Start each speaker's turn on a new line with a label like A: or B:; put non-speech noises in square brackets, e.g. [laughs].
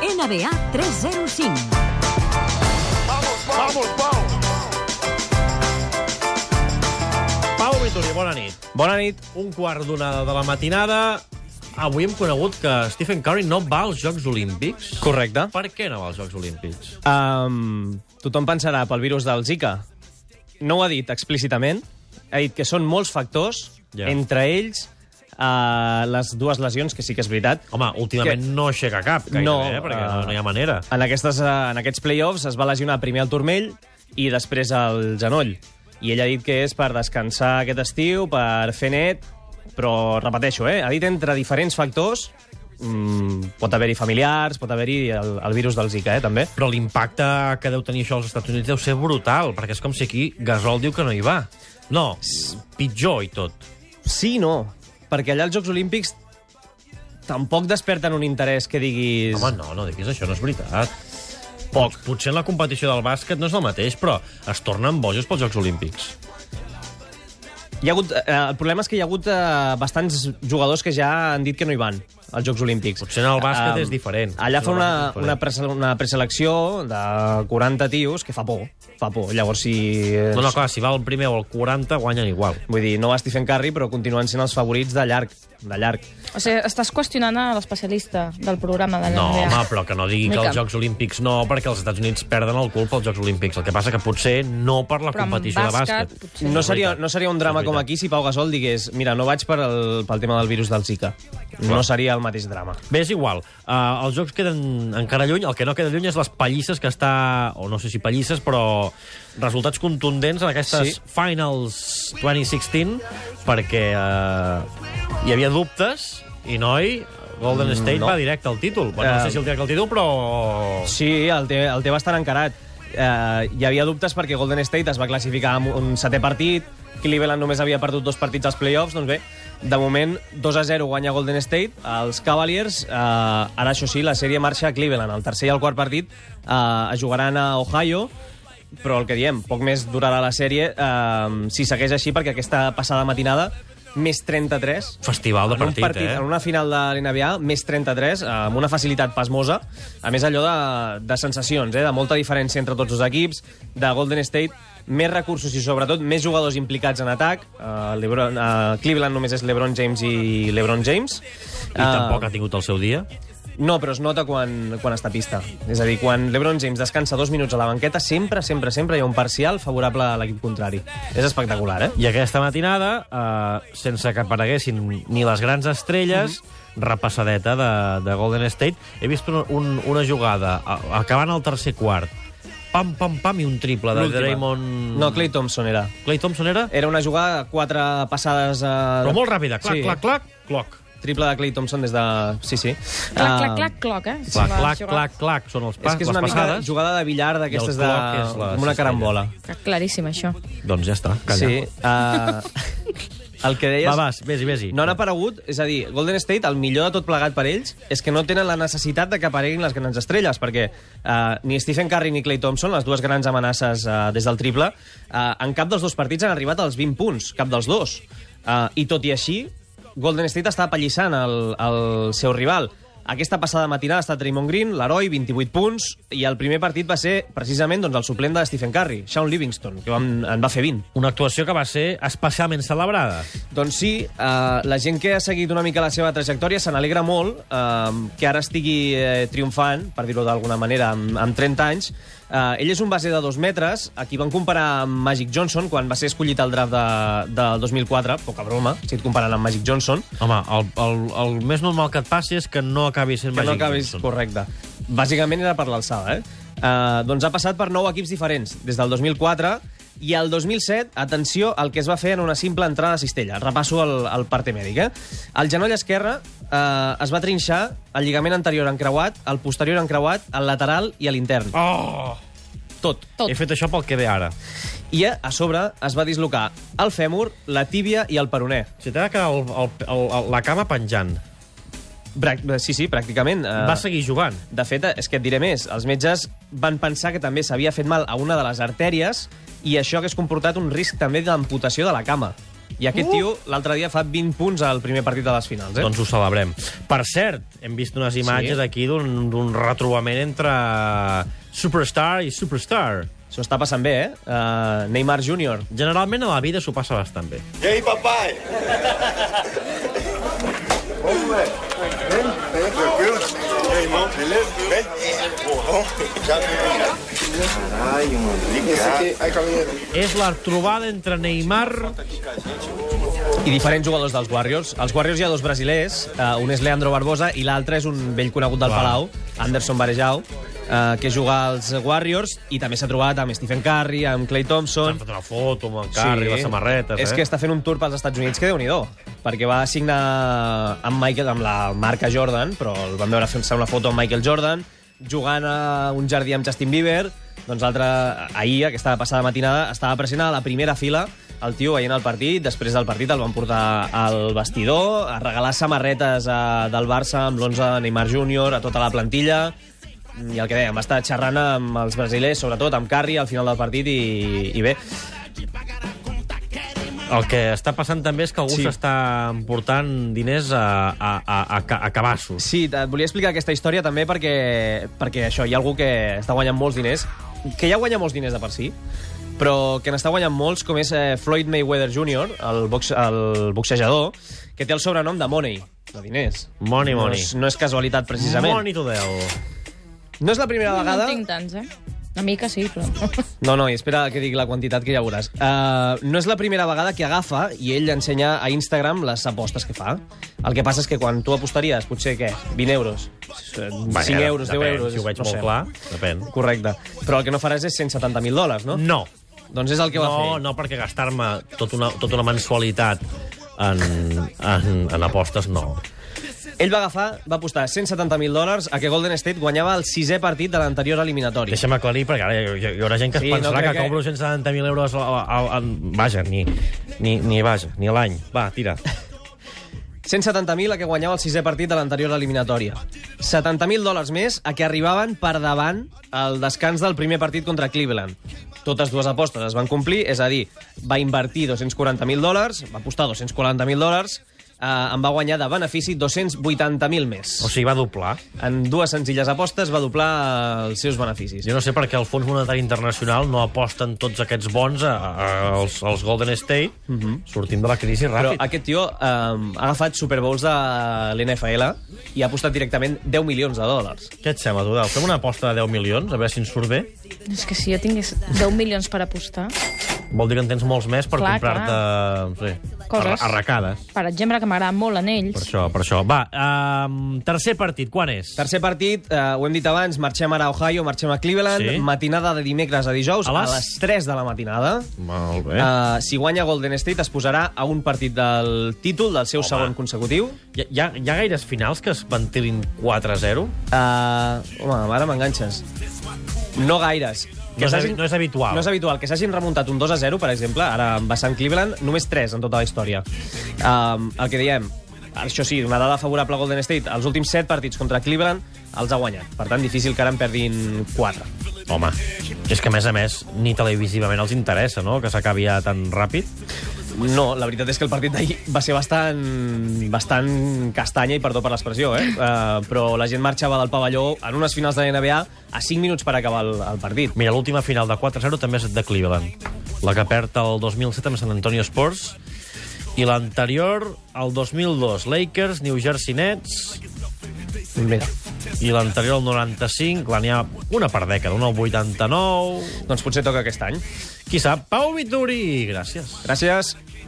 A: NBA 305.
B: Vamos, vamos, vamos.
C: Pau Vituri, bona nit.
D: Bona nit.
C: Un quart d'una de la matinada. Avui hem conegut que Stephen Curry no va als Jocs Olímpics.
D: Correcte.
C: Per què no va als Jocs Olímpics?
D: Um, tothom pensarà pel virus del Zika. No ho ha dit explícitament. Ha dit que són molts factors,
C: Ja.
D: yeah. entre ells uh, les dues lesions, que sí que és veritat.
C: Home, últimament
D: Que-
C: no aixeca cap, gairebé,
D: No,
C: eh? perquè no,
D: eh,
C: no hi ha manera.
D: En, aquestes, uh, en aquests play-offs es va lesionar primer el turmell i després el genoll. I ell ha dit que és per descansar aquest estiu, per fer net, però repeteixo, eh? ha dit entre diferents factors, mm, pot haver-hi familiars, pot haver-hi el, el virus del Zika, eh, també.
C: Però l'impacte que deu tenir això als Estats Units deu ser brutal, perquè és com si aquí Gasol diu que no hi va. No, pitjor i tot.
D: Sí i no, perquè allà als Jocs Olímpics tampoc desperten un interès que diguis...
C: Home, no, no diguis això, no és veritat. Poc. Potser en la competició del bàsquet no és el mateix, però es tornen bojos pels Jocs Olímpics.
D: Hi ha hagut, eh, el problema és que hi ha hagut eh, bastants jugadors que ja han dit que no hi van als Jocs Olímpics. Eh,
C: Potser en el bàsquet és diferent.
D: Allà
C: Potser
D: fa
C: en el
D: una,
C: bàsquet és
D: una, prese, una preselecció de 40 tios que fa por, fa por. Llavors, si... eh,
C: No, no, clar, si va el primer o el 40, guanyen igual.
D: Vull dir, no va Stephen Curry, però continuen sent els favorits de llarg, de llarg.
E: O sigui, estàs qüestionant a l'especialista del programa de la
C: No,
E: NBA.
C: home, però que no digui que
E: Mica.
C: els Jocs Olímpics no, perquè els Estats Units perden el cul pels Jocs Olímpics. El que passa que potser no per la
E: Però en
C: competició de
E: bàsquet,
C: bàsquet.
E: potser.
D: No
C: És
D: seria,
C: veritat.
D: no seria un drama
C: És
D: com
C: veritat.
D: aquí si Pau Gasol digués mira, no vaig per el, pel tema del virus del Zika. No seria el mateix drama.
C: Bé, és igual. Uh, els jocs queden encara lluny. El que no queda lluny és les pallisses que està... O no sé si pallisses, però resultats contundents en aquestes
D: Sí.
C: sí. Finals 2016 perquè uh, hi havia dubtes i, noi, Golden State no. va directe al títol. Bueno, no
D: Mm, Eh,
C: sé si el directe al títol, però...
D: Sí, el té, el té bastant encarat. Eh, hi havia dubtes perquè Golden State es va classificar amb un setè partit, Cleveland només havia perdut dos partits als playoffs, doncs bé, de moment 2 a 0 guanya Golden State, els Cavaliers, eh, ara això sí, la sèrie marxa a Cleveland, el tercer i el quart partit eh, es jugaran a Ohio, però el que diem, poc més durarà la sèrie eh, si segueix així, perquè aquesta passada matinada més 33
C: Festival de
D: en un
C: partit,
D: partit,
C: eh?
D: en una final de l'NBA, més 33, eh, amb una facilitat pasmosa. A més, allò de, de sensacions, eh, de molta diferència entre tots els equips, de Golden State, més recursos i, sobretot, més jugadors implicats en atac. Uh, Lebron, uh, Cleveland només és LeBron James i LeBron James. Eh,
C: I tampoc ha tingut el seu dia.
D: No, però es nota quan, quan està a pista. És a dir, quan LeBron James descansa dos minuts a la banqueta, sempre, sempre, sempre hi ha un parcial favorable a l'equip contrari. És espectacular, eh?
C: I aquesta matinada, eh, sense que apareguessin ni les grans estrelles,
D: Mhm.
C: repassadeta de, de Golden State, he vist un, un, una jugada a, acabant el tercer quart. Pam, pam, pam, i un triple de
D: L'última.
C: Draymond...
D: No, Clay Thompson era.
C: Clay Thompson era?
D: Era una jugada, quatre passades... Eh,
C: Però molt ràpida. Clac, sí. clac, clac, cloc.
D: Triple de Clay Thompson des de... Sí, sí.
E: Clac, clac,
D: Ah,
E: clac, cloc, eh?
C: Clac,
E: Sí, va,
C: clac,
E: això va.
C: clac, clac. Són els
D: És
C: pas,
D: que és una
C: les
D: mica
C: passades.
D: jugada de billar d'aquestes de...
C: cloc és la
D: Com una
C: cistella.
D: carambola.
E: Està claríssim, això.
C: Doncs ja està, calla.
D: Sí. Uh, [laughs] el que deies...
C: Va, vas, vés-hi, vés-hi.
D: No han aparegut, és a dir, Golden State, el millor de tot plegat per ells, és que no tenen la necessitat de que apareguin les grans estrelles, perquè eh, ni Stephen Curry ni Clay Thompson, les dues grans amenaces eh, des del triple, eh, en cap dels dos partits han arribat als 20 punts, cap dels dos. Eh, I tot i així, Golden State està apallissant el, el seu rival. Aquesta passada matinada ha estat Draymond Green, l'heroi, 28 punts, i el primer partit va ser precisament doncs, el suplent de Stephen Curry, Sean Livingston, que vam, en va fer 20.
C: Una actuació que va ser especialment celebrada.
D: Doncs sí, eh, la gent que ha seguit una mica la seva trajectòria se n'alegra molt eh, que ara estigui eh, triomfant, per dir-ho d'alguna manera, amb, amb 30 anys. Eh, ell és un base de dos metres, aquí van comparar amb Magic Johnson quan va ser escollit al draft de, del 2004, poca broma, si et comparen amb Magic Johnson,
C: Home, el, el, el més normal que et passi és que no acabi sent
D: que no
C: Magic
D: acabis
C: Johnson.
D: correcte. Bàsicament era per l'alçada, eh? Uh, doncs ha passat per nou equips diferents, des del 2004 i el 2007, atenció al que es va fer en una simple entrada a cistella. Repasso el, el parte mèdic, eh? El genoll esquerre uh, es va trinxar el lligament anterior encreuat, el posterior encreuat, el lateral i l'intern.
C: Oh!
D: Tot.
E: Tot.
C: He fet això pel que ve ara.
D: I eh, a a sobre es va dislocar el fèmur, la tíbia i el peroné.
C: Si t'ha de quedar el, el, el, el, la cama penjant,
D: Brac- sí, sí, pràcticament. eh,
C: uh. va seguir jugant.
D: De fet, és que et diré més. Els metges van pensar que també s'havia fet mal a una de les artèries i això hagués comportat un risc també d'amputació de la cama. I aquest uh. tio l'altre dia fa 20 punts al primer partit de les finals. Eh?
C: Doncs ho celebrem. Per cert, hem vist unes imatges
D: Sí.
C: sí. aquí d'un d'un retrobament entre superstar i superstar.
D: S'ho està passant bé, eh? Uh, Neymar Jr.
C: Generalment a la vida s'ho passa bastant bé.
B: Yay, papá. Hombre, ven, ven, recruit. Hey, mo, ven. Bojón, ya te mira. Ay,
C: És la trobada entre Neymar...
D: I diferents jugadors dels Warriors. Als Warriors hi ha dos brasilers, uh, un és Leandro Barbosa i l'altre és un vell conegut del
C: Clar.
D: Palau, Anderson Varejao, uh, que juga als Warriors i també s'ha trobat amb Stephen Curry, amb Clay Thompson...
C: S'han fet una foto amb el carri, sí. les samarretes,
D: És
C: eh?
D: que està fent un tour pels Estats Units, que déu nhi perquè va signar amb Michael, amb la marca Jordan, però el vam veure fent-se una foto amb Michael Jordan, jugant a un jardí amb Justin Bieber, doncs l'altre, ahir, aquesta passada matinada, estava present a la primera fila el tio veient el partit, després del partit el van portar al vestidor, a regalar samarretes a, del Barça amb l'11 de Neymar Júnior, a tota la plantilla, i el que dèiem, va estar xerrant amb els brasilers, sobretot amb Carri, al final del partit, i, i bé,
C: El que està passant també és que algú
D: Sí.
C: s'està emportant diners a, a, a, a, ca- a cabassos.
D: Sí, et volia explicar aquesta història també perquè, perquè això, hi ha algú que està guanyant molts diners, que ja guanya molts diners de per si, però que n'està guanyant molts, com és eh, Floyd Mayweather Jr., el, box, el boxejador, que té el sobrenom de Money, de diners.
C: Money,
D: No
C: money.
D: és, no és casualitat, precisament.
C: Money to Dell.
D: No és la primera
E: No
D: vegada...
E: en tinc tants, eh? Una mica sí, però...
D: No, no, i espera que digui la quantitat que ja veuràs. Uh, no és la primera vegada que agafa i ell ensenya a Instagram les apostes que fa. El que passa és que quan tu apostaries, potser, què? 20 euros? 5 euros, 10
C: depèn,
D: euros?
C: Si ho veig
D: no
C: molt
D: sé.
C: clar, depèn.
D: Correcte. Però el que no faràs és 170.000 dòlars, no?
C: No.
D: Doncs és el que va
C: No,
D: fer.
C: no perquè gastar-me tota una, tot una mensualitat en, en, en apostes, no.
D: Ell va agafar, va apostar 170.000 dòlars a que Golden State guanyava el sisè partit de l'anterior eliminatori.
C: Deixa'm aclarir, perquè ara hi, hi hi haurà gent que es
D: Sí,
C: sí,
D: no
C: pensarà
D: crec
C: no que
D: que-
C: cobro 170.000 euros al, al, al, Vaja, ni, ni, ni, vaja, ni a l'any. Va, tira.
D: 170.000 a que guanyava el sisè partit de l'anterior eliminatòria. 70.000 dòlars més a que arribaven per davant al descans del primer partit contra Cleveland. Totes dues apostes es van complir, és a dir, va invertir 240.000 dòlars, va apostar 240.000 dòlars, eh, en va guanyar de benefici 280.000 més.
C: O sigui, va doblar.
D: En dues senzilles apostes va doblar eh, els seus beneficis.
C: Jo no sé per què el Fons Monetari Internacional no aposten tots aquests bons a, a, als, als Golden State. Uh -huh. Sortim de la crisi
D: Mhm. Però
C: ràpid. Però,
D: aquest tio eh, ha agafat Super Bowls de l'NFL i ha apostat directament 10 milions de dòlars.
C: Què et sembla, tu, Dau? Fem una aposta de 10 milions, a veure si ens surt bé.
E: [laughs] És que si jo tingués 10 milions per apostar,
C: Vol dir que en tens molts més per
E: Clar,
C: comprar-te... No sé,
E: Coses.
C: arra- Arracades.
E: per exemple, que m'agraden molt en
C: Per
E: ells,
C: això, per això. Va, um, tercer partit, quan és?
D: Tercer partit, eh, ho hem dit abans, marxem ara a Ohio, marxem a Cleveland,
C: Sí.
D: sí. matinada de dimecres a dijous,
C: A
D: a
C: les-
D: les, a les 3 de la matinada.
C: Molt bé.
D: Eh? Uh, si guanya Golden State es posarà a un partit del títol, del seu Home. segon consecutiu. Eh,
C: Hi, hi, ha, hi ha gaires finals que es ventilin 4-0?
D: Uh, home, ara m'enganxes. No gaires.
C: No és habi- no és habitual.
D: No és habitual. Que s'hagin remuntat un 2 a 0, per exemple, ara en vessant Cleveland, només 3 en tota la història. Um, el que diem, això sí, una dada favorable a Golden State, els últims 7 partits contra Cleveland els ha guanyat. Per tant, difícil que ara en perdin 4.
C: Home, és que a més a més ni televisivament els interessa, no?, que s'acabi ja tan ràpid.
D: No, la veritat és que el partit d'ahir va ser bastant, bastant castanya, i perdó per l'expressió, eh? Uh, però la gent marxava del pavelló en unes finals de la NBA a 5 minuts per acabar el, el partit.
C: Mira, l'última final de 4-0 també és de Cleveland. La que perd el 2007 amb San Antonio Sports i l'anterior, el 2002, Lakers, New Jersey Nets
D: Mira.
C: i l'anterior, el 95, clar, n'hi ha una per dècada, una al 89...
D: Doncs potser toca aquest any.
C: Qui sap? Pau Vituri! Gràcies.
D: Gràcies.